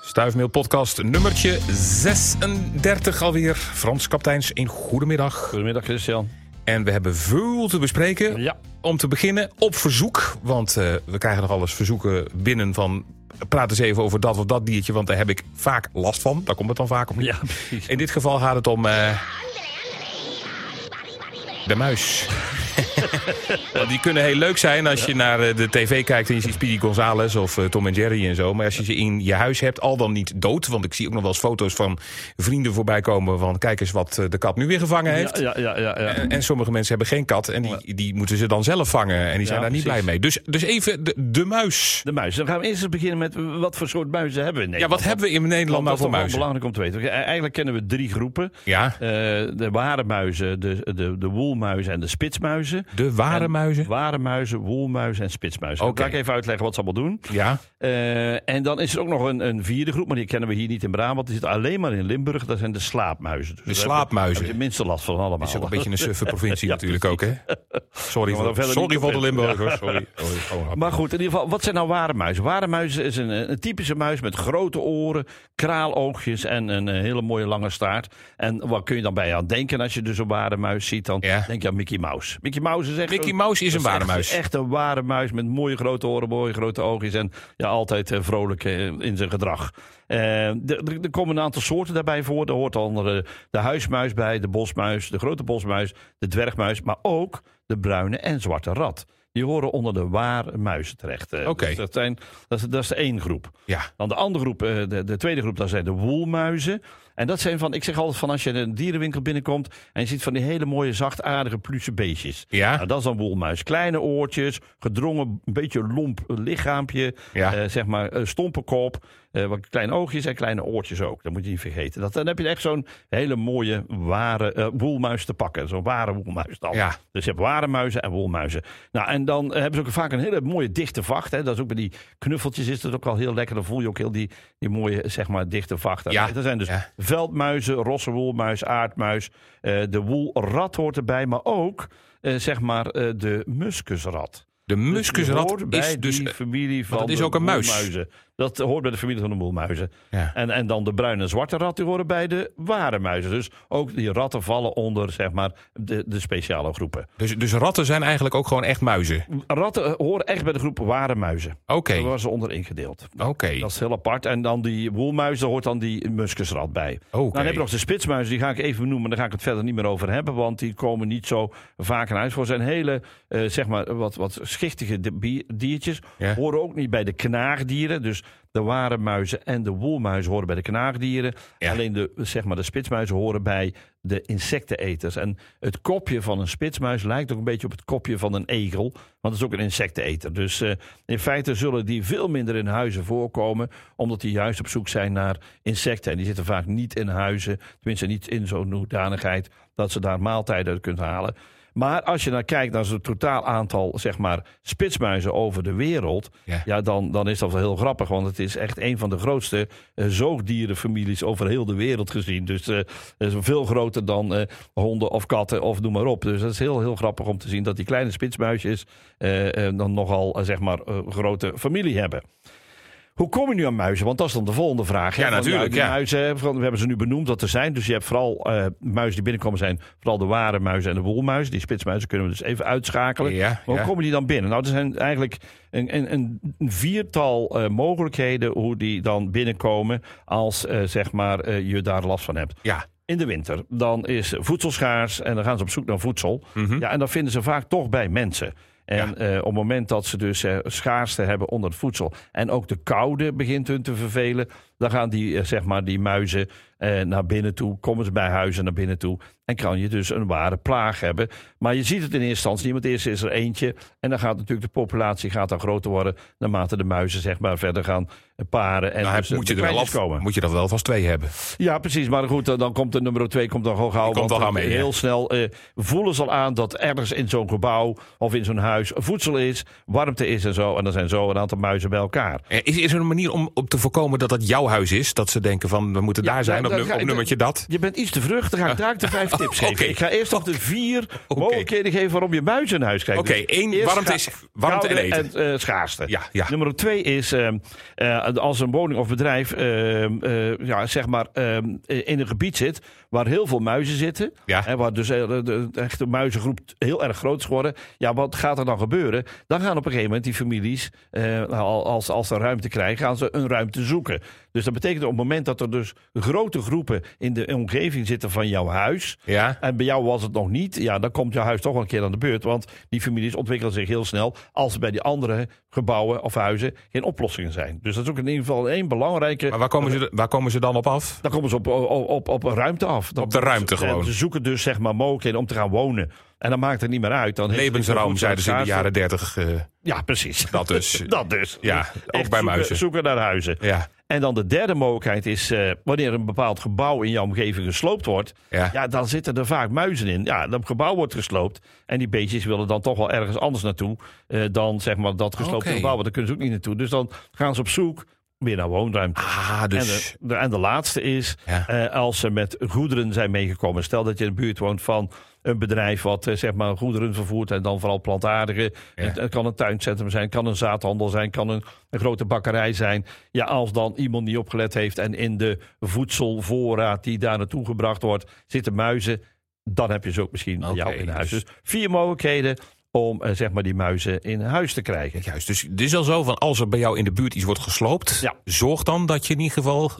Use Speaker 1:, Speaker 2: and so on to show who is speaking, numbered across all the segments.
Speaker 1: Stuifmeelpodcast nummertje 36 alweer. Frans Kapteins, een goedemiddag.
Speaker 2: Goedemiddag Christian.
Speaker 1: En we hebben veel te bespreken.
Speaker 2: Ja.
Speaker 1: Om te beginnen op verzoek, want eh, we krijgen nog alles verzoeken binnen van... praat eens even over dat of dat diertje, want daar heb ik vaak last van. Daar komt het dan vaak om.
Speaker 2: Ja, precies.
Speaker 1: In dit geval gaat het om eh, de muis. Want die kunnen heel leuk zijn als je naar eh, de tv kijkt en je ziet Speedy Gonzales of eh, Tom en Jerry en zo. Maar als je ze in je huis hebt, al dan niet dood. Want ik zie ook nog wel eens foto's van vrienden voorbij komen van kijk eens wat eh, de kat nu weer gevangen heeft.
Speaker 2: Ja, ja, ja, ja. ja.
Speaker 1: En, en sommige mensen hebben geen kat en die, die moeten ze dan zelf vangen. En die zijn
Speaker 2: Ja,
Speaker 1: daar niet blij
Speaker 2: precies.
Speaker 1: mee. Dus, dus even de, de muis.
Speaker 2: De muis. Dan gaan we eerst eens beginnen met wat voor soort muizen hebben we in
Speaker 1: Ja,
Speaker 2: Nederland.
Speaker 1: wat hebben we in Nederland
Speaker 2: Want
Speaker 1: nou
Speaker 2: dat is
Speaker 1: voor
Speaker 2: toch wel
Speaker 1: muizen?
Speaker 2: belangrijk om te weten. Eh, Eigenlijk kennen we drie groepen.
Speaker 1: Ja,
Speaker 2: Eh, de ware muizen, de, de, de woelmuizen en de spitsmuizen.
Speaker 1: de ware
Speaker 2: En-
Speaker 1: muizen.
Speaker 2: Ware muizen, woelmuizen en spitsmuizen.
Speaker 1: Oké.
Speaker 2: Ga ik even uitleggen wat ze allemaal doen.
Speaker 1: Ja,
Speaker 2: Eh, en dan is er ook nog een, een vierde groep, maar die kennen we hier niet in Brabant. Die zit alleen maar in Limburg. Dat zijn de slaapmuizen. Dus daar hebben-
Speaker 1: slaapmuizen.
Speaker 2: Hebben ze het minste last van allemaal.
Speaker 1: is ook een beetje een suffe provincie natuurlijk ook, hè? Sorry
Speaker 2: Kan we daar
Speaker 1: voor,
Speaker 2: verder
Speaker 1: sorry
Speaker 2: niet op
Speaker 1: voor de
Speaker 2: in.
Speaker 1: Limburgers. Sorry. Oh, oh, oh.
Speaker 2: Maar goed, in ieder geval, wat zijn nou ware muizen? Ware muizen is een, een typische muis met grote oren, kraaloogjes en een eh, hele mooie lange staart. En wat kun je dan bij je aan denken als je dus een ware muis ziet? Dan
Speaker 1: Ja.
Speaker 2: denk je aan Mickey Mouse. Mickey Mouse is echt...
Speaker 1: Mickey
Speaker 2: een-
Speaker 1: Mouse is een
Speaker 2: dat
Speaker 1: ware
Speaker 2: echt-
Speaker 1: muis.
Speaker 2: Echt een ware muis met mooie grote oren, mooie grote oogjes en ja, altijd eh, vrolijk eh, in zijn gedrag. Eh, er- er er komen een aantal soorten daarbij voor. Daar hoort onder de, de huismuis bij, de bosmuis, de grote bosmuis, de dwergmuis, maar ook de bruine en zwarte rat. Die horen onder de ware muizen terecht. Eh,
Speaker 1: Oké.
Speaker 2: dus dat, zijn, dat, is, dat is één groep.
Speaker 1: Ja,
Speaker 2: Dan de andere groep, eh, de, de tweede groep, dat zijn de woelmuizen. En dat zijn van, ik zeg altijd van als je in een dierenwinkel binnenkomt en je ziet van die hele mooie zachtaardige pluche beestjes.
Speaker 1: ja,
Speaker 2: Nou, dat is dan woelmuis. Kleine oortjes, gedrongen, een beetje lomp lichaampje.
Speaker 1: Ja.
Speaker 2: eh, zeg maar, eh, stompe kop. eh, wat kleine oogjes en kleine oortjes ook. Dat moet je niet vergeten. Dat, dan heb je echt zo'n hele mooie ware eh, woelmuis te pakken. Zo'n ware woelmuis dan.
Speaker 1: ja.
Speaker 2: Dus je hebt ware muizen en wolmuizen. Nou, en dan eh, hebben ze ook vaak een hele mooie dichte vacht. Hè. Dat is ook bij die knuffeltjes is dat ook al heel lekker. Dan voel je ook heel die, die mooie, zeg maar, dichte vacht.
Speaker 1: Ja,
Speaker 2: Dat zijn dus
Speaker 1: ja.
Speaker 2: veldmuizen, rosse woelmuis, aardmuis. eh, de woelrat hoort erbij, maar ook, eh, zeg maar, eh, de muskusrat.
Speaker 1: De
Speaker 2: Dus Die
Speaker 1: muskusrat
Speaker 2: hoort bij
Speaker 1: is dus...
Speaker 2: die familie van
Speaker 1: dat is
Speaker 2: de
Speaker 1: ook een muis.
Speaker 2: woelmuizen. Dat hoort bij de familie van de woelmuizen.
Speaker 1: Ja.
Speaker 2: En, en dan de bruine en zwarte rat, die horen bij de ware muizen. Dus ook die ratten vallen onder, zeg maar, de, de speciale groepen.
Speaker 1: Dus, dus ratten zijn eigenlijk ook gewoon echt muizen.
Speaker 2: Ratten eh, horen echt bij de groep ware muizen.
Speaker 1: Oké,
Speaker 2: Daar waren ze onder ingedeeld.
Speaker 1: oké.
Speaker 2: Dat is heel apart. En dan die woelmuis, daar hoort dan die muskusrat bij.
Speaker 1: Oké.
Speaker 2: Nou, dan heb je nog de spitsmuis, die ga ik even benoemen. Daar ga ik het verder niet meer over hebben, want die komen niet zo vaak in huis. Voor zijn hele, eh, zeg maar, wat, wat schichtige di- bier- diertjes
Speaker 1: Ja.
Speaker 2: horen ook niet bij de knaagdieren. Dus de ware muizen en de woelmuizen horen bij de knaagdieren.
Speaker 1: Ja.
Speaker 2: Alleen de, zeg maar, de spitsmuizen horen bij de insecteneters. En het kopje van een spitsmuis lijkt ook een beetje op het kopje van een egel. Want het is ook een insecteneter. Dus eh, in feite zullen die veel minder in huizen voorkomen. Omdat die juist op zoek zijn naar insecten. En die zitten vaak niet in huizen. Tenminste niet in zo'n hoedanigheid dat ze daar maaltijden uit kunt halen. Maar als je naar kijkt naar zo'n totaal aantal zeg maar, spitsmuizen over de wereld.
Speaker 1: Ja.
Speaker 2: Ja. dan, dan is dat wel heel grappig. Want het is echt een van de grootste eh, zoogdierenfamilies over heel de wereld gezien. Dus eh, dat is veel groter dan eh, honden of katten of noem maar op. Dus dat is heel, heel grappig om te zien dat die kleine spitsmuisjes eh, eh, dan nogal eh, zeg maar, eh, grote familie hebben. Hoe kom je nu aan muizen? Want dat is dan de volgende vraag. hè?
Speaker 1: Ja,
Speaker 2: Van,
Speaker 1: natuurlijk,
Speaker 2: die
Speaker 1: ja.
Speaker 2: Muizen, van, we hebben ze nu benoemd dat er zijn. Dus je hebt vooral eh, muizen die binnenkomen zijn. Vooral de ware muizen en de wolmuizen. Die spitsmuizen kunnen we dus even uitschakelen.
Speaker 1: Ja,
Speaker 2: maar hoe
Speaker 1: ja.
Speaker 2: komen die dan binnen? Nou, er zijn eigenlijk een, een, een viertal eh, mogelijkheden hoe die dan binnenkomen. Als eh, zeg maar, eh, je daar last van hebt.
Speaker 1: Ja,
Speaker 2: In de winter, dan is voedselschaars en dan gaan ze op zoek naar voedsel. Ja, en dat vinden ze vaak toch bij mensen. En
Speaker 1: Mhm. Ja.
Speaker 2: eh, op het moment dat ze dus eh, schaarste hebben onder het voedsel en ook de koude begint hun te vervelen, dan gaan die, eh, zeg maar, die muizen eh, naar binnen toe, komen ze bij huizen naar binnen toe en kan je dus een ware plaag hebben. Maar je ziet het in eerste instantie niet, want eerst is er eentje en dan gaat natuurlijk de populatie gaat dan groter worden naarmate de muizen zeg maar verder gaan eh, paren en
Speaker 1: nou,
Speaker 2: dus, eh,
Speaker 1: moet, je
Speaker 2: de
Speaker 1: er wel af,
Speaker 2: kleintjes komen.
Speaker 1: moet je er wel vast twee hebben.
Speaker 2: Ja, precies. Maar goed, dan, dan komt de nummer 2 komt dan gewoon gauw.
Speaker 1: Die komt
Speaker 2: want
Speaker 1: al gauw mee,
Speaker 2: Heel
Speaker 1: ja.
Speaker 2: snel eh, voelen ze al aan dat ergens in zo'n gebouw of in zo'n huis voedsel is, warmte is en zo. En dan zijn zo een aantal muizen bij elkaar.
Speaker 1: Eh, Is, is er een manier om, om te voorkomen dat dat jouw huis is? Dat ze denken van, we moeten
Speaker 2: Ja,
Speaker 1: daar zijn,
Speaker 2: nou,
Speaker 1: op,
Speaker 2: dan
Speaker 1: nu-
Speaker 2: ga-
Speaker 1: op nummertje dat.
Speaker 2: Je bent iets te vrucht, dan ga ik daar de vijf tips geven.
Speaker 1: Ah, Oké.
Speaker 2: Ik ga eerst nog de vier mogelijkheden geven waarom je muizen in huis krijgt.
Speaker 1: Oké,
Speaker 2: Dus
Speaker 1: één,
Speaker 2: eerst
Speaker 1: warmte
Speaker 2: ga-
Speaker 1: is- warmte en
Speaker 2: koude
Speaker 1: eten.
Speaker 2: eh, schaarste.
Speaker 1: Ja, ja.
Speaker 2: Nummer twee is ehm, eh, als een woning of bedrijf ehm, eh, ja, zeg maar, ehm, eh, in een gebied zit waar heel veel muizen zitten.
Speaker 1: Ja.
Speaker 2: Hè, waar dus eh, de, de, echt de muizengroep t- heel erg groot is geworden. Ja, wat gaat er dan gebeuren? Dan gaan op een gegeven moment die families, eh, al- als, als ze ruimte krijgen, gaan ze een ruimte zoeken. Dus dat betekent op het moment dat er dus grote groepen in de omgeving zitten van jouw huis.
Speaker 1: Ja.
Speaker 2: En bij jou was het nog niet. Ja, dan komt jouw huis toch wel een keer aan de beurt. Want die families ontwikkelen zich heel snel. Als er bij die andere gebouwen of huizen geen oplossingen zijn. Dus dat is ook in ieder geval één belangrijke.
Speaker 1: Maar waar komen, ze, waar komen ze dan op af?
Speaker 2: Dan komen ze op, op, op, op een ruimte af. Dan-
Speaker 1: Op de ruimte
Speaker 2: en
Speaker 1: gewoon.
Speaker 2: Ze zoeken dus zeg maar mogelijkheden om te gaan wonen. En dan maakt het niet meer uit. Dan heeft-
Speaker 1: Levensraam, zeiden ze in de jaren dertig. eh,
Speaker 2: Ja, precies.
Speaker 1: dat dus.
Speaker 2: Dat dus.
Speaker 1: Ja,
Speaker 2: Echt
Speaker 1: ook bij
Speaker 2: zoeken-
Speaker 1: muizen.
Speaker 2: Zoeken naar huizen.
Speaker 1: ja.
Speaker 2: En dan de derde mogelijkheid is eh, wanneer een bepaald gebouw in jouw omgeving gesloopt wordt.
Speaker 1: Ja.
Speaker 2: Ja. dan zitten er vaak muizen in. Ja, dat gebouw wordt gesloopt. En die beestjes willen dan toch wel ergens anders naartoe eh, dan zeg maar dat gesloopte
Speaker 1: Oké.
Speaker 2: gebouw. Want daar kunnen ze ook niet naartoe. Dus dan gaan ze op zoek weer naar woonruimte.
Speaker 1: Ah, dus.
Speaker 2: En, de, de- en de laatste is,
Speaker 1: Ja.
Speaker 2: eh, als ze met goederen zijn meegekomen. Stel dat je in de buurt woont van een bedrijf wat eh, zeg maar goederen vervoert en dan vooral plantaardige.
Speaker 1: Ja.
Speaker 2: Het, het kan een tuincentrum zijn, kan een zaadhandel zijn, kan een, een grote bakkerij zijn. Ja, als dan iemand niet opgelet heeft en in de voedselvoorraad die daar naartoe gebracht wordt zitten muizen, dan heb je ze ook misschien bij jou
Speaker 1: Oké,
Speaker 2: in huis.
Speaker 1: dus-
Speaker 2: Dus vier mogelijkheden om eh, zeg maar die muizen in huis te krijgen.
Speaker 1: Juist, dus het is al zo van als er bij jou in de buurt iets wordt gesloopt,
Speaker 2: Ja.
Speaker 1: zorg dan dat je in ieder geval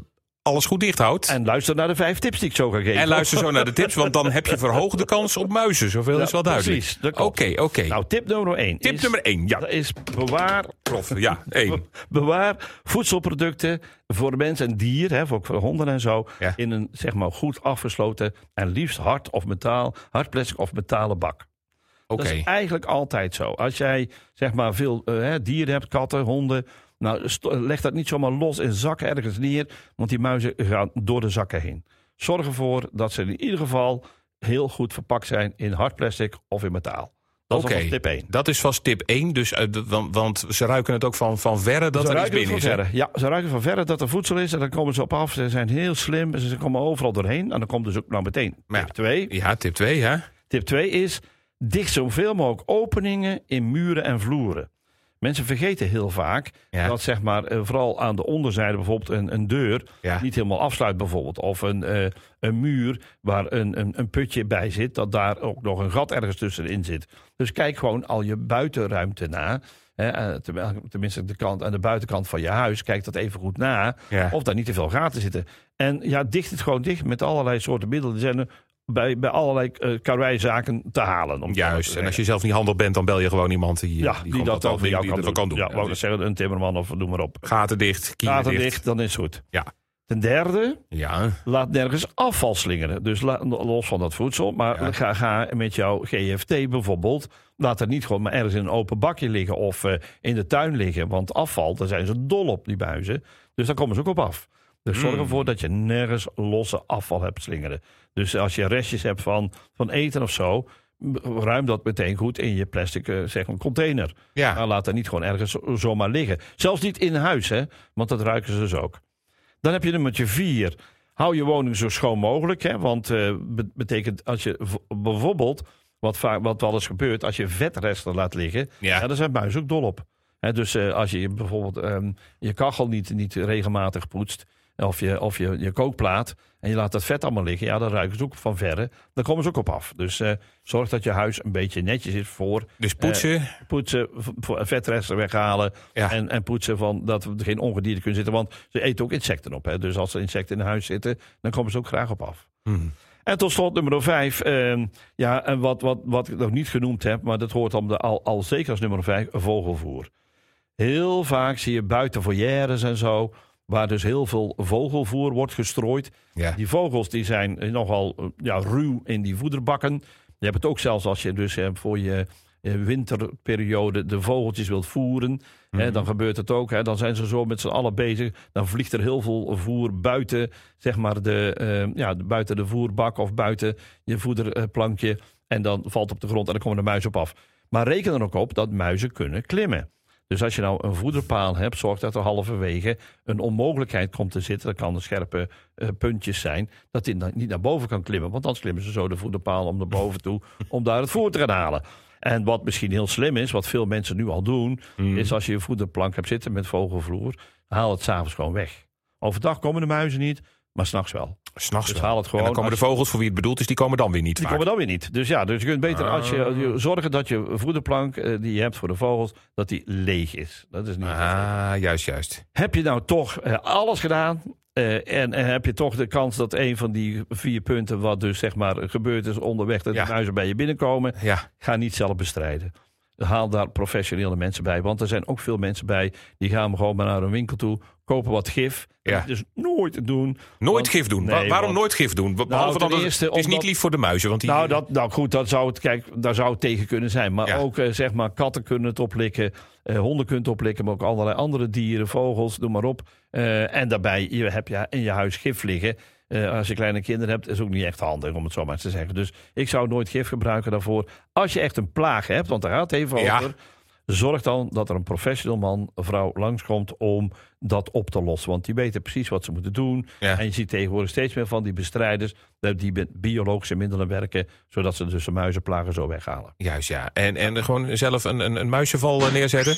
Speaker 1: alles goed dicht houdt. En,
Speaker 2: En luister naar de vijf tips die ik zo ga geven.
Speaker 1: luister zo naar de tips, want dan heb je verhoogde kans op muizen. Zoveel
Speaker 2: Ja,
Speaker 1: is wel duidelijk.
Speaker 2: precies, dat
Speaker 1: Oké,
Speaker 2: klopt.
Speaker 1: oké.
Speaker 2: Nou, tip nummer één.
Speaker 1: Tip
Speaker 2: is-
Speaker 1: nummer 1. Ja,
Speaker 2: Dat is bewaar,
Speaker 1: prof. Ja, één.
Speaker 2: bewaar voedselproducten voor mens en dier, hè, voor, ook voor honden en zo,
Speaker 1: Ja.
Speaker 2: in een zeg maar, goed afgesloten en liefst hard of metaal, hard plastic of metalen bak.
Speaker 1: Oké.
Speaker 2: Dat is eigenlijk altijd zo. Als jij zeg maar veel eh, hè, dieren hebt, katten, honden, nou, st- leg dat niet zomaar los in zakken ergens neer, want die muizen gaan door de zakken heen. Zorg ervoor dat ze in ieder geval heel goed verpakt zijn in hard plastic of in metaal. Dat
Speaker 1: Oké.
Speaker 2: is alvast tip 1.
Speaker 1: Dat is vast tip 1. Dus, eh, d- want, want ze ruiken het ook van, van verre dat
Speaker 2: ze
Speaker 1: er iets
Speaker 2: ruiken het
Speaker 1: binnen is.
Speaker 2: van
Speaker 1: hè?
Speaker 2: verre. Ja, ze ruiken van verre dat er voedsel is en dan komen ze op af. Ze zijn heel slim, ze komen overal doorheen en dan komt dus ook nou meteen
Speaker 1: Maar ja.
Speaker 2: tip 2.
Speaker 1: Ja, tip 2, hè?
Speaker 2: Tip 2 is, dicht zoveel mogelijk openingen in muren en vloeren. Mensen vergeten heel vaak
Speaker 1: Ja.
Speaker 2: dat zeg maar, eh, vooral aan de onderzijde bijvoorbeeld een, een deur
Speaker 1: Ja.
Speaker 2: niet helemaal afsluit bijvoorbeeld. Of een, eh, een muur waar een, een, een putje bij zit, dat daar ook nog een gat ergens tussenin zit. Dus kijk gewoon al je buitenruimte na. Hè, eh, terwijl- tenminste, de kant, aan de buitenkant van je huis, kijk dat even goed na.
Speaker 1: Ja.
Speaker 2: Of daar niet te veel gaten zitten. En ja, dicht het gewoon dicht met allerlei soorten middelen. Die zijn er bij, bij allerlei eh karweizaken te halen. Om
Speaker 1: Juist. En als je zelf niet handig bent, dan bel je gewoon iemand die,
Speaker 2: ja,
Speaker 1: eh,
Speaker 2: die,
Speaker 1: gewoon
Speaker 2: dat
Speaker 1: wel-
Speaker 2: dan voor jou
Speaker 1: die
Speaker 2: kan,
Speaker 1: dat wel
Speaker 2: doen. Ja,
Speaker 1: Ja,
Speaker 2: wou ik
Speaker 1: dus
Speaker 2: zeggen, een timmerman of noem maar op.
Speaker 1: gaten dicht, kieren
Speaker 2: Gaten
Speaker 1: dicht.
Speaker 2: dicht, dan is het goed.
Speaker 1: Ja.
Speaker 2: Ten derde,
Speaker 1: Ja,
Speaker 2: Laat nergens afval slingeren. Dus la- los van dat voedsel. Maar
Speaker 1: Ja.
Speaker 2: ga, ga met jouw GFT bijvoorbeeld. Laat het niet gewoon maar ergens in een open bakje liggen. Of eh, in de tuin liggen. Want afval, daar zijn ze dol op, die buizen. Dus daar komen ze ook op af. Dus zorg ervoor dat je nergens losse afval hebt slingeren. Dus als je restjes hebt van, van eten of zo. m- Ruim dat meteen goed in je plastic eh, zeg maar, container.
Speaker 1: Ja.
Speaker 2: Maar laat dat niet gewoon ergens zo- zomaar liggen. Zelfs niet in huis, hè? want dat ruiken ze dus ook. Dan heb je nummertje vier. Hou je woning zo schoon mogelijk. Hè? Want eh, be- betekent als je v- bijvoorbeeld, wat, vaak, wat wel eens gebeurt, als je vetresten laat liggen,
Speaker 1: Ja.
Speaker 2: ja. daar zijn muizen ook dol op. Hè, dus eh, als je je bijvoorbeeld ehm, je kachel niet, niet regelmatig poetst, of, je, of je, je kookplaat, en je laat dat vet allemaal liggen, ja, dan ruiken ze ook van verre. Daar komen ze ook op af. Dus eh, zorg dat je huis een beetje netjes is voor
Speaker 1: dus poetsen.
Speaker 2: poetsen, v- v- vetresten weghalen
Speaker 1: Ja.
Speaker 2: en, en poetsen van dat er geen ongedierte kunnen zitten. Want ze eten ook insecten op. Hè? Dus als er insecten in huis zitten, dan komen ze ook graag op af.
Speaker 1: Hmm.
Speaker 2: En tot slot nummer vijf. ehm, ja, en wat, wat, wat ik nog niet genoemd heb, maar dat hoort om de, al, al zeker als nummer vijf, vogelvoer. Heel vaak zie je buiten foyeres en zo, waar dus heel veel vogelvoer wordt gestrooid.
Speaker 1: Ja.
Speaker 2: Die vogels die zijn eh, nogal eh, ja, ruw in die voederbakken. Je hebt het ook zelfs als je dus eh, voor je eh, winterperiode de vogeltjes wilt voeren. hè, dan gebeurt het ook. Hè, dan zijn ze zo met z'n allen bezig. Dan vliegt er heel veel voer buiten, zeg maar de, eh, ja, de- buiten de voerbak of buiten je voederplankje. En dan valt het op de grond en dan komen de muizen op af. Maar reken er ook op dat muizen kunnen klimmen. Dus als je nou een voederpaal hebt, zorg dat er halverwege een onmogelijkheid komt te zitten. Dat kan de scherpe eh, puntjes zijn. Dat die dan niet naar boven kan klimmen. Want anders klimmen ze zo de voederpaal om naar boven toe. om daar het voer te gaan halen. En wat misschien heel slim is, wat veel mensen nu al doen.
Speaker 1: Hmm.
Speaker 2: is als je je voederplank hebt zitten met vogelvloer. haal het s'avonds gewoon weg. Overdag komen de muizen niet, maar s'nachts wel.
Speaker 1: S'nachts
Speaker 2: Dus
Speaker 1: wel.
Speaker 2: haal het gewoon
Speaker 1: en dan komen de
Speaker 2: als-
Speaker 1: vogels voor wie het bedoeld is, die komen dan weer niet
Speaker 2: Die
Speaker 1: vaak. Ah.
Speaker 2: komen dan weer niet. Dus ja, dus je kunt beter als je, je zorgen dat je voederplank eh, die je hebt voor de vogels, dat die leeg is. Dat is niet.
Speaker 1: Ah, juist, juist.
Speaker 2: Heb je nou toch eh, alles gedaan? eh, en, en heb je toch de kans dat een van die vier punten, wat dus zeg maar gebeurd is onderweg, dat
Speaker 1: Ja.
Speaker 2: de muizen bij je binnenkomen,
Speaker 1: Ja,
Speaker 2: ga niet zelf bestrijden. Haal daar professionele mensen bij. Want er zijn ook veel mensen bij die gaan gewoon maar naar een winkel toe, kopen wat gif.
Speaker 1: Ja.
Speaker 2: Dat is Dus nooit doen.
Speaker 1: nooit
Speaker 2: Want-
Speaker 1: gif doen. Wa-
Speaker 2: Nee,
Speaker 1: Waarom
Speaker 2: want- Nou,
Speaker 1: nooit gif doen? Be- Behalve
Speaker 2: ten
Speaker 1: dan dat het-
Speaker 2: eerste
Speaker 1: het is niet
Speaker 2: omdat-
Speaker 1: lief voor de muizen. Want die,
Speaker 2: Nou, dat, nou goed, dat zou het, kijk, daar zou het tegen kunnen zijn. Maar
Speaker 1: Ja.
Speaker 2: ook eh, zeg maar, katten kunnen het oplikken, eh, honden kunnen het oplikken, maar ook allerlei andere dieren, vogels, noem maar op. Eh, en daarbij je, heb je in je huis gif liggen. Eh, als je kleine kinderen hebt, is ook niet echt handig om het zo maar eens te zeggen. Dus ik zou nooit gif gebruiken daarvoor. Als je echt een plaag hebt, want daar gaat het even
Speaker 1: Ja.
Speaker 2: over. Zorg dan dat er een professional man of vrouw langskomt om dat op te lossen. Want die weten precies wat ze moeten doen.
Speaker 1: Ja.
Speaker 2: En je ziet tegenwoordig steeds meer van die bestrijders dat die met biologische middelen werken, zodat ze dus de muizenplagen zo weghalen.
Speaker 1: Juist, ja. En, en gewoon zelf een, een, een muizenval eh, neerzetten.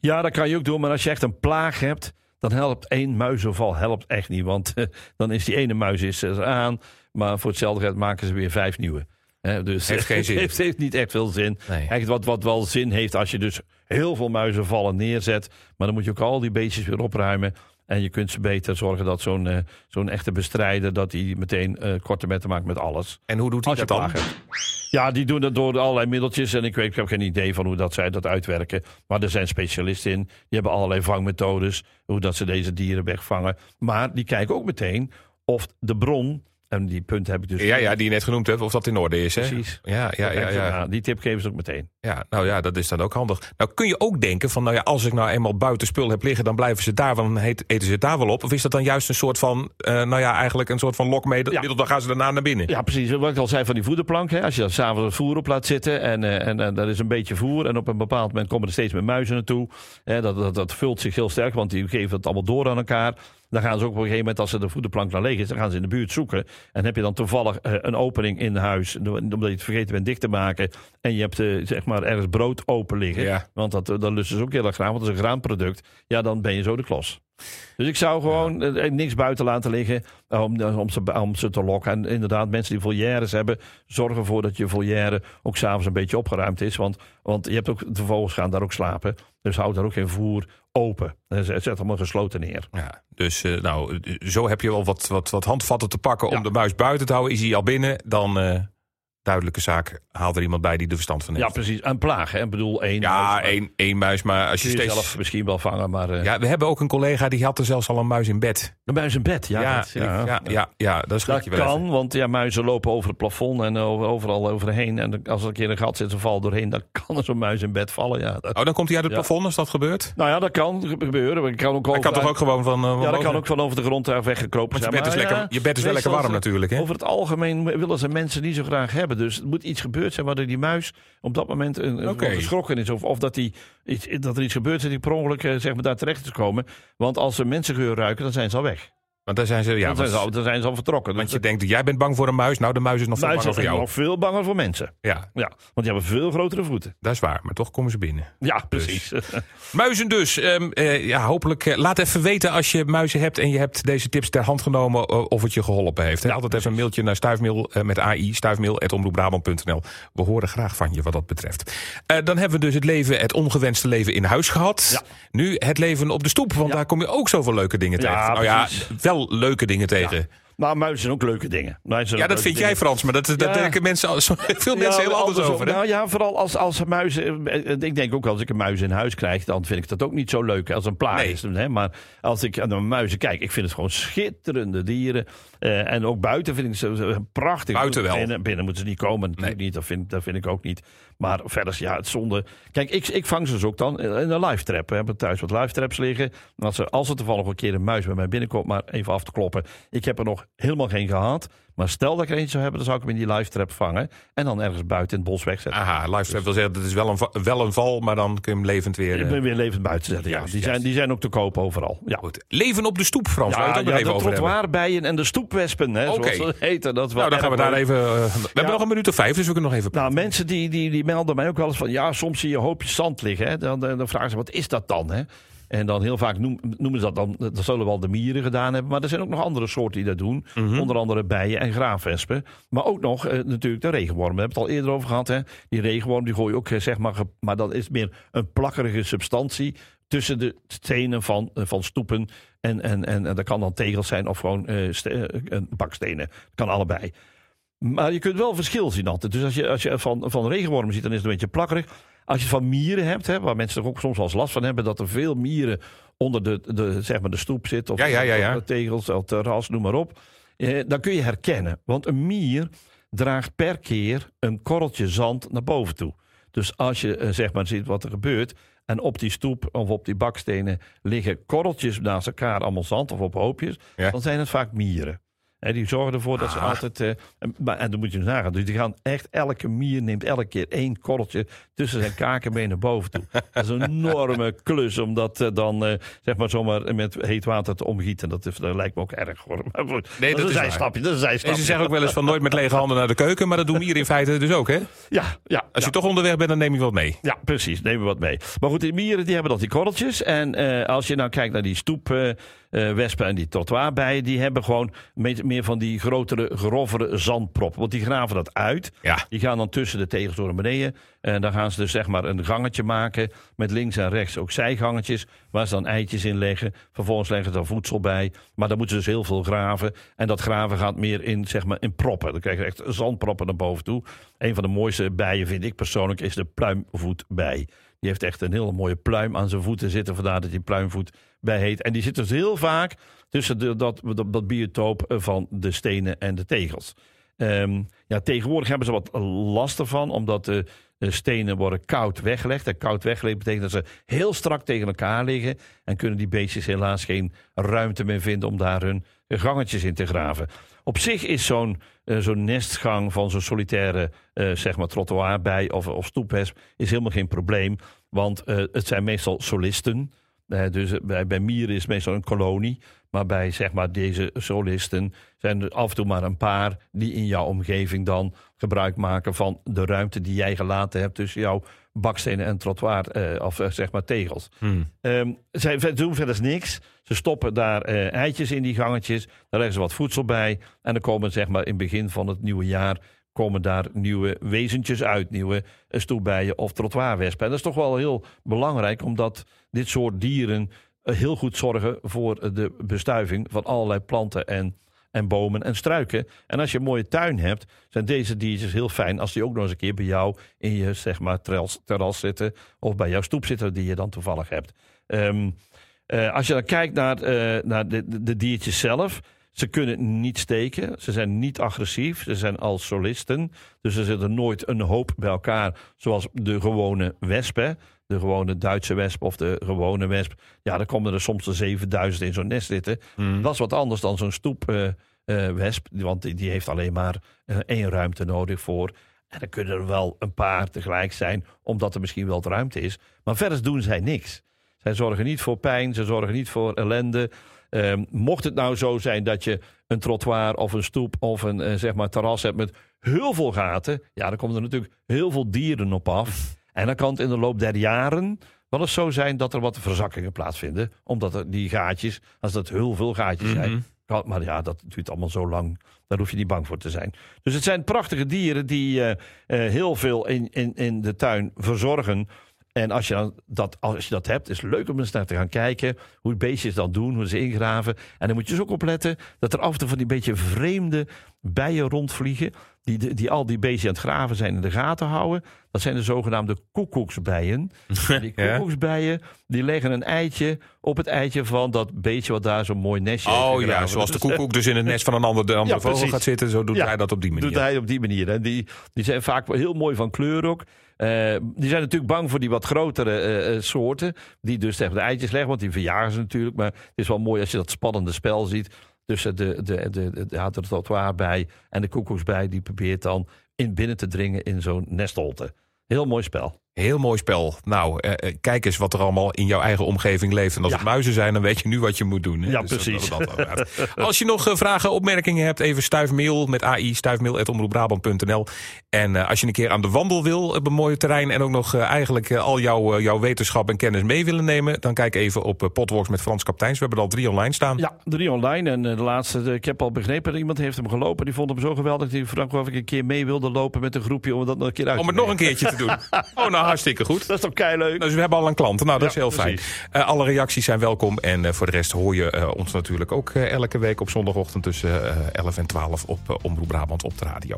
Speaker 2: Ja, dat kan je ook doen, maar als je echt een plaag hebt, dan helpt één muizenval helpt echt niet. Want eh, dan is die ene muis is er aan, maar voor hetzelfde geld maken ze weer vijf nieuwe. Hè, dus
Speaker 1: Heeft geen zin.
Speaker 2: heeft, heeft niet echt veel zin.
Speaker 1: Nee.
Speaker 2: Kijk, wat, wat wel zin heeft als je dus heel veel muizenvallen neerzet. Maar dan moet je ook al die beestjes weer opruimen. En je kunt ze beter zorgen dat zo'n eh, zo'n echte bestrijder... dat hij meteen eh korte metten maakt met alles.
Speaker 1: En hoe doet hij
Speaker 2: Als je
Speaker 1: dat dan?
Speaker 2: plagen hebt. Ja, die doen dat door allerlei middeltjes. En ik, weet, ik heb geen idee van hoe dat zij dat uitwerken. Maar er zijn specialisten in. Die hebben allerlei vangmethodes. Hoe dat ze deze dieren wegvangen. Maar die kijken ook meteen of de bron... En die punt heb ik dus...
Speaker 1: Ja, ja, die je net genoemd hebt, of dat in orde is. Hè?
Speaker 2: Precies.
Speaker 1: Ja, ja, ja, ja,
Speaker 2: Ja, Die tip geven ze ook meteen.
Speaker 1: ja. Nou ja, dat is dan ook handig. Nou kun je ook denken van, nou ja, als ik nou eenmaal buiten spul heb liggen, dan blijven ze daar, want dan heet- eten ze het daar wel op. Of is dat dan juist een soort van, eh, nou ja, eigenlijk een soort van lokmiddel,
Speaker 2: Ja.
Speaker 1: dan gaan ze daarna naar binnen.
Speaker 2: Ja, precies. Wat ik al zei van die voederplank. Hè? Als je daar s'avonds het voer op laat zitten en, eh, en, en daar is een beetje voer. En op een bepaald moment komen er steeds meer muizen naartoe. Hè? Dat, dat, dat vult zich heel sterk, want die geven het allemaal door aan elkaar. Dan gaan ze ook op een gegeven moment, als ze de voederplank naar leeg is, dan gaan ze in de buurt zoeken. En heb je dan toevallig eh, een opening in huis, omdat je het vergeten bent dicht te maken. En je hebt eh, zeg maar ergens brood open liggen.
Speaker 1: Ja.
Speaker 2: Want dat, eh, dat lusten ze ook heel erg graag, want dat is een graanproduct. Ja, dan ben je zo de klos. Dus ik zou gewoon eh, niks buiten laten liggen eh, om, eh, om, ze, om ze te lokken. En inderdaad, mensen die volières hebben, zorg ervoor dat je volière ook s'avonds een beetje opgeruimd is. Want, want je hebt ook, de vogels gaan daar ook slapen. Dus houd daar ook geen voer open. Eh, Zet zet allemaal gesloten neer.
Speaker 1: Ja, dus eh, nou, eh, zo heb je wel wat, wat, wat handvatten te pakken om
Speaker 2: Ja.
Speaker 1: de muis buiten te houden. Is hij al binnen, dan eh, duidelijke zaak, haal er iemand bij die er verstand van heeft.
Speaker 2: Ja, precies. En plagen. hè. Ik bedoel, één.
Speaker 1: Ja,
Speaker 2: muis, maar
Speaker 1: één, één muis, maar als je
Speaker 2: kun je
Speaker 1: steeds...
Speaker 2: zelf misschien wel vangen, maar eh
Speaker 1: Ja, we hebben ook een collega die had er zelfs al een muis in bed.
Speaker 2: de muis in dus bed. Ja, dat,
Speaker 1: ja, ja, ja, ja, dat schrik
Speaker 2: Dat
Speaker 1: je wel even.
Speaker 2: kan, want ja, muizen lopen over het plafond en over- overal overheen. En als er een keer een gat zit, ze valt doorheen, dan kan er zo'n muis in bed vallen. Ja, dat-
Speaker 1: Oh, dan komt hij uit het
Speaker 2: Ja.
Speaker 1: plafond als dat gebeurt?
Speaker 2: Nou ja, dat kan gebeuren. maar Ik kan ook
Speaker 1: Hij kan
Speaker 2: over-
Speaker 1: toch ook gewoon van... eh,
Speaker 2: Ja,
Speaker 1: van
Speaker 2: dat kan
Speaker 1: boven?
Speaker 2: ook van over de grond daar weggekropen
Speaker 1: Want je
Speaker 2: zijn.
Speaker 1: bed is,
Speaker 2: Maar
Speaker 1: lekker,
Speaker 2: ja,
Speaker 1: je bed is wel lekker
Speaker 2: meestal
Speaker 1: warm
Speaker 2: ze-
Speaker 1: natuurlijk, hè?
Speaker 2: Over het algemeen willen ze mensen niet zo graag hebben. Dus er moet iets gebeurd zijn waardoor die muis op dat moment een, een
Speaker 1: Oké.
Speaker 2: geschrokken is. Of, of dat, die, iets, dat er iets gebeurt dat die per ongeluk eh, zeg maar, daar terecht is komen. Want als ze mensengeur ruiken, dan zijn ze al weg.
Speaker 1: Want daar zijn ze... Ja,
Speaker 2: dan,
Speaker 1: want,
Speaker 2: zijn ze al, dan zijn ze al vertrokken.
Speaker 1: want
Speaker 2: Dus
Speaker 1: je denkt, jij bent bang voor een muis. Nou, de muis is nog
Speaker 2: de
Speaker 1: veel
Speaker 2: muizen
Speaker 1: banger voor
Speaker 2: zijn
Speaker 1: jou.
Speaker 2: nog veel banger voor mensen.
Speaker 1: Ja,
Speaker 2: Ja, want die hebben veel grotere voeten. Dus-
Speaker 1: dat is waar. Maar toch komen ze binnen.
Speaker 2: Ja, precies.
Speaker 1: Muizen dus. ehm, eh, ja, hopelijk... eh, laat even weten als je muizen hebt en je hebt deze tips ter hand genomen eh, of het je geholpen heeft. hè. Altijd even een mailtje naar stuifmail eh, met AI, stuifmail.omroepbrabant.nl. We horen graag van je wat dat betreft. Eh, dan hebben we dus het leven, het ongewenste leven in huis gehad.
Speaker 2: Ja.
Speaker 1: Nu het leven op de stoep, want
Speaker 2: Ja.
Speaker 1: daar kom je ook zoveel leuke dingen
Speaker 2: Ja,
Speaker 1: tegen. nou ja,
Speaker 2: precies.
Speaker 1: wel leuke dingen tegen. Ja,
Speaker 2: maar Nou, muizen zijn ook leuke dingen. Muizen zijn
Speaker 1: dat
Speaker 2: ook leuke
Speaker 1: vind
Speaker 2: dingen.
Speaker 1: jij Frans, maar dat, dat
Speaker 2: Ja.
Speaker 1: denken mensen, al- zo- veel mensen
Speaker 2: Ja,
Speaker 1: heel anders
Speaker 2: andersom.
Speaker 1: over. hè?
Speaker 2: Nou ja, vooral als, als muizen. eh, eh, Ik denk ook als ik een muis in huis krijg, dan vind ik dat ook niet zo leuk als een plaag.
Speaker 1: Nee.
Speaker 2: is, Hè? Maar als ik aan de muizen kijk, ik vind het gewoon schitterende dieren. Eh, en ook buiten vind ik ze- ze prachtig.
Speaker 1: Buiten wel.
Speaker 2: Binnen, Eh, binnen moeten ze niet komen, natuurlijk niet. Dat vind, dat vind ik ook niet. Maar verder, ja, het zonde. Kijk, ik, ik vang ze dus ook dan in een live trap. We hebben thuis wat live traps liggen. En als er, als er toevallig een keer een muis bij mij binnenkomt, maar even af te kloppen. Ik heb er nog helemaal geen gehad. Maar stel dat ik er eentje zou hebben, dan zou ik hem in die live trap vangen. En dan ergens buiten in het bos wegzetten.
Speaker 1: Aha, livestream wil zeggen, dat is wel een, va- wel een val, maar dan kun je hem levend weer...
Speaker 2: Ik
Speaker 1: eh,
Speaker 2: ben weer levend buiten zetten. Ja,
Speaker 1: Juist,
Speaker 2: die, zijn,
Speaker 1: juist.
Speaker 2: die zijn ook te koop overal. Ja.
Speaker 1: Goed. Leven op de stoep, Frans.
Speaker 2: Ja,
Speaker 1: Laten we het ook
Speaker 2: ja,
Speaker 1: nog even
Speaker 2: de
Speaker 1: over hebben.
Speaker 2: trottoirbijen en de stoepwespen, hè,
Speaker 1: Oké.
Speaker 2: zoals ze heten. Dat is wel
Speaker 1: Nou, dan gaan we
Speaker 2: erg
Speaker 1: daar
Speaker 2: leuk.
Speaker 1: even... eh, we hebben nog een minuut of vijf, dus we kunnen nog even...
Speaker 2: Nou, mensen die, die, die melden mij ook wel eens van... ja, soms zie je hoopjes zand liggen. Hè? Dan, dan dan vragen ze, wat is dat dan? Hè? En dan heel vaak noem- noemen ze dat dan... dat zullen wel de mieren gedaan hebben. Maar er zijn ook nog andere soorten die dat doen. Onder andere bijen en graafwespen. Maar ook nog eh, natuurlijk de regenworm. We hebben het al eerder over gehad. Hè? Die regenworm die gooi je ook, eh, zeg maar... ge- maar dat is meer een plakkerige substantie... tussen de stenen van, eh, van stoepen. En, en, en, en dat kan dan tegels zijn of gewoon eh, ste- eh, een bakstenen. kan allebei. Maar je kunt wel verschil zien altijd. Dus als je, als je van, van regenwormen ziet, dan is het een beetje plakkerig. Als je het van mieren hebt, hè, waar mensen toch ook soms wel eens last van hebben... dat er veel mieren onder de, de, zeg maar de stoep zitten... of
Speaker 1: Ja, ja, ja, ja.
Speaker 2: op de tegels, op het terras, noem maar op. Eh, dan kun je herkennen. Want een mier draagt per keer een korreltje zand naar boven toe. Dus als je eh, zeg maar ziet wat er gebeurt... en op die stoep of op die bakstenen liggen korreltjes naast elkaar... allemaal zand of op hoopjes,
Speaker 1: Ja.
Speaker 2: dan zijn het vaak mieren. Hè, die zorgen ervoor dat ze
Speaker 1: Ah.
Speaker 2: altijd... eh, en- maar, en dan moet je eens nagaan. Dus die gaan echt... Elke mier neemt elke keer één korreltje... tussen zijn kakenbeen naar boven toe. Dat is een enorme klus om dat eh, dan... eh, zeg maar zomaar met heet water te omgieten. Dat, is, dat lijkt me ook erg hoor. Maar goed,
Speaker 1: Nee, dat
Speaker 2: dat,
Speaker 1: is
Speaker 2: is
Speaker 1: waar.
Speaker 2: een stapje. Dat is een
Speaker 1: En
Speaker 2: stapje.
Speaker 1: ze zeggen ook wel eens van nooit met lege handen naar de keuken, maar dat doen we hier in feite dus ook, hè?
Speaker 2: Ja, ja.
Speaker 1: Als
Speaker 2: ja.
Speaker 1: je toch onderweg bent, dan neem je wat mee.
Speaker 2: Ja, precies. Neem er wat mee. Maar goed, die mieren die hebben dat die korreltjes. En eh, als je nou kijkt naar die stoepwespen wespen en die trottoirbijen... die hebben gewoon me- meer van die grotere, grovere zandproppen. Want die graven dat uit.
Speaker 1: Ja.
Speaker 2: Die gaan dan tussen de tegels door naar beneden. En dan gaan ze dus zeg maar een gangetje maken. Met links en rechts ook zijgangetjes. Waar ze dan eitjes in leggen. Vervolgens leggen ze dan voedsel bij. Maar dan moeten ze dus heel veel graven. En dat graven gaat meer in, zeg maar, in proppen. Dan krijg je echt zandproppen naar boven toe. Een van de mooiste bijen vind ik persoonlijk is de pluimvoetbij. Die heeft echt een hele mooie pluim aan zijn voeten zitten. Vandaar dat die pluimvoet bij heet. En die zit dus heel vaak tussen de, dat, dat, dat biotoop van de stenen en de tegels. Ehm, ja, tegenwoordig hebben ze wat last ervan, omdat de de stenen worden koud weggelegd. En koud weggelegd betekent dat ze heel strak tegen elkaar liggen. En kunnen die beestjes helaas geen ruimte meer vinden om daar hun gangetjes in te graven. Op zich is zo'n eh, zo'n nestgang van zo'n solitaire eh zeg maar trottoirbij of, of stoephesp is helemaal geen probleem. Want eh, het zijn meestal solisten. Eh, dus bij, bij mieren is het meestal een kolonie. Maar bij zeg maar, deze solisten zijn er af en toe maar een paar die in jouw omgeving dan gebruik maken van de ruimte die jij gelaten hebt tussen jouw bakstenen en trottoir, eh, of eh, zeg maar tegels. Ehm, zij ver- doen verder niks. Ze stoppen daar eh, eitjes in die gangetjes. Daar leggen ze wat voedsel bij. En dan komen zeg maar in het begin van het nieuwe jaar komen daar nieuwe wezentjes uit. Nieuwe eh, stoelbijen of trottoirwespen. En dat is toch wel heel belangrijk. Omdat dit soort dieren eh, heel goed zorgen voor eh, de bestuiving van allerlei planten en, en bomen en struiken. En als je een mooie tuin hebt, zijn deze diertjes heel fijn als die ook nog eens een keer bij jou in je zeg maar, terras, terras zitten of bij jouw stoep zitten die je dan toevallig hebt. Ehm, eh, als je dan kijkt naar, eh, naar de, de, de diertjes zelf, ze kunnen niet steken, ze zijn niet agressief, ze zijn al solisten, dus er zitten nooit een hoop bij elkaar zoals de gewone wespen. De gewone Duitse wesp of de gewone wesp. Ja, dan komen er soms de 7000 in zo'n nest zitten. Dat is wat anders dan zo'n stoep eh, eh, wesp. Want die, die heeft alleen maar eh, één ruimte nodig voor. En dan kunnen er wel een paar tegelijk zijn, omdat er misschien wel wat ruimte is. Maar verder doen zij niks. Zij zorgen niet voor pijn, ze zorgen niet voor ellende. Ehm, mocht het nou zo zijn dat je een trottoir of een stoep of een eh, zeg maar terras hebt met heel veel gaten, ja, dan komen er natuurlijk heel veel dieren op af. En dan kan het in de loop der jaren wel eens zo zijn dat er wat verzakkingen plaatsvinden. Omdat er die gaatjes, als dat heel veel gaatjes
Speaker 1: Mhm. Mm-hmm.
Speaker 2: zijn. kan- Maar ja, dat duurt allemaal zo lang. Daar hoef je niet bang voor te zijn. Dus het zijn prachtige dieren die eh, eh, heel veel in, in, in de tuin verzorgen. En als je, dan dat, als je dat hebt, is het leuk om eens naar te gaan kijken. Hoe beestjes dat doen, hoe ze ingraven. En dan moet je dus ook opletten dat er af en toe van die beetje vreemde bijen rondvliegen. Die, die, die al die beestjes aan het graven zijn in de gaten houden. Dat zijn de zogenaamde koekoeksbijen. En die
Speaker 1: Ja.
Speaker 2: koekoeksbijen die leggen een eitje op het eitje van dat beestje wat daar zo'n mooi nestje heeft
Speaker 1: Oh ja,
Speaker 2: gegraven.
Speaker 1: zoals de
Speaker 2: Dus, eh,
Speaker 1: koekoek dus in het nest van een ander, de andere
Speaker 2: Ja,
Speaker 1: vogel
Speaker 2: precies.
Speaker 1: gaat zitten. Zo doet
Speaker 2: Ja.
Speaker 1: hij dat op die manier.
Speaker 2: Doet hij op die manier. En die, die zijn vaak wel heel mooi van kleur ook. Eh, die zijn natuurlijk bang voor die wat grotere eh, eh, soorten. Die dus tegen de eitjes leggen, want die verjagen ze natuurlijk. Maar het is wel mooi als je dat spannende spel ziet. tussen de, de, de, de, de had er trottoir bij en de koekoeksbij. Die probeert dan in binnen te dringen in zo'n nestholte. Heel mooi spel.
Speaker 1: Heel mooi spel. Nou, eh, eh, kijk eens wat er allemaal in jouw eigen omgeving leeft. En als
Speaker 2: Ja.
Speaker 1: het muizen zijn, dan weet je nu wat je moet doen. hè.
Speaker 2: Ja,
Speaker 1: Dus dat-
Speaker 2: precies.
Speaker 1: dat- dat- dat- als je nog eh, vragen, opmerkingen hebt, even stuifmail met AI, stuifmail.omroepbrabant.nl. En eh, als je een keer aan de wandel wil op een mooie terrein... en ook nog eh, eigenlijk eh, al jouw, eh, jouw wetenschap en kennis mee willen nemen... dan kijk even op eh, Potwalks met Frans Kapteins. We hebben er al drie online staan.
Speaker 2: Ja, drie online. En eh, de laatste, eh, ik heb al begrepen, iemand heeft hem gelopen. Die vond hem zo geweldig. Die vroeg of ik een keer mee wilde lopen met een groepje om dat nog een keer uit te
Speaker 1: Om het nog een
Speaker 2: brengen.
Speaker 1: keertje te doen. Oh, nou, hartstikke goed.
Speaker 2: Dat is toch kei leuk.
Speaker 1: Dus we hebben al een klant. Nou, dat is
Speaker 2: Ja,
Speaker 1: heel fijn. Eh, alle reacties zijn welkom. En eh, voor de rest hoor je eh, ons natuurlijk ook eh, elke week op zondagochtend tussen eh, 11 en 12 op eh, Omroep Brabant op de radio.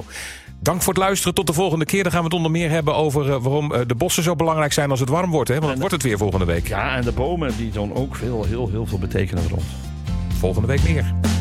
Speaker 1: Dank voor het luisteren. Tot de volgende keer. Dan gaan we het onder meer hebben over eh, waarom eh, de bossen zo belangrijk zijn als het warm wordt. Hè? Want het wordt het weer volgende week.
Speaker 2: Ja, en de bomen die doen ook veel, heel, heel veel betekenen voor ons.
Speaker 1: Volgende week meer.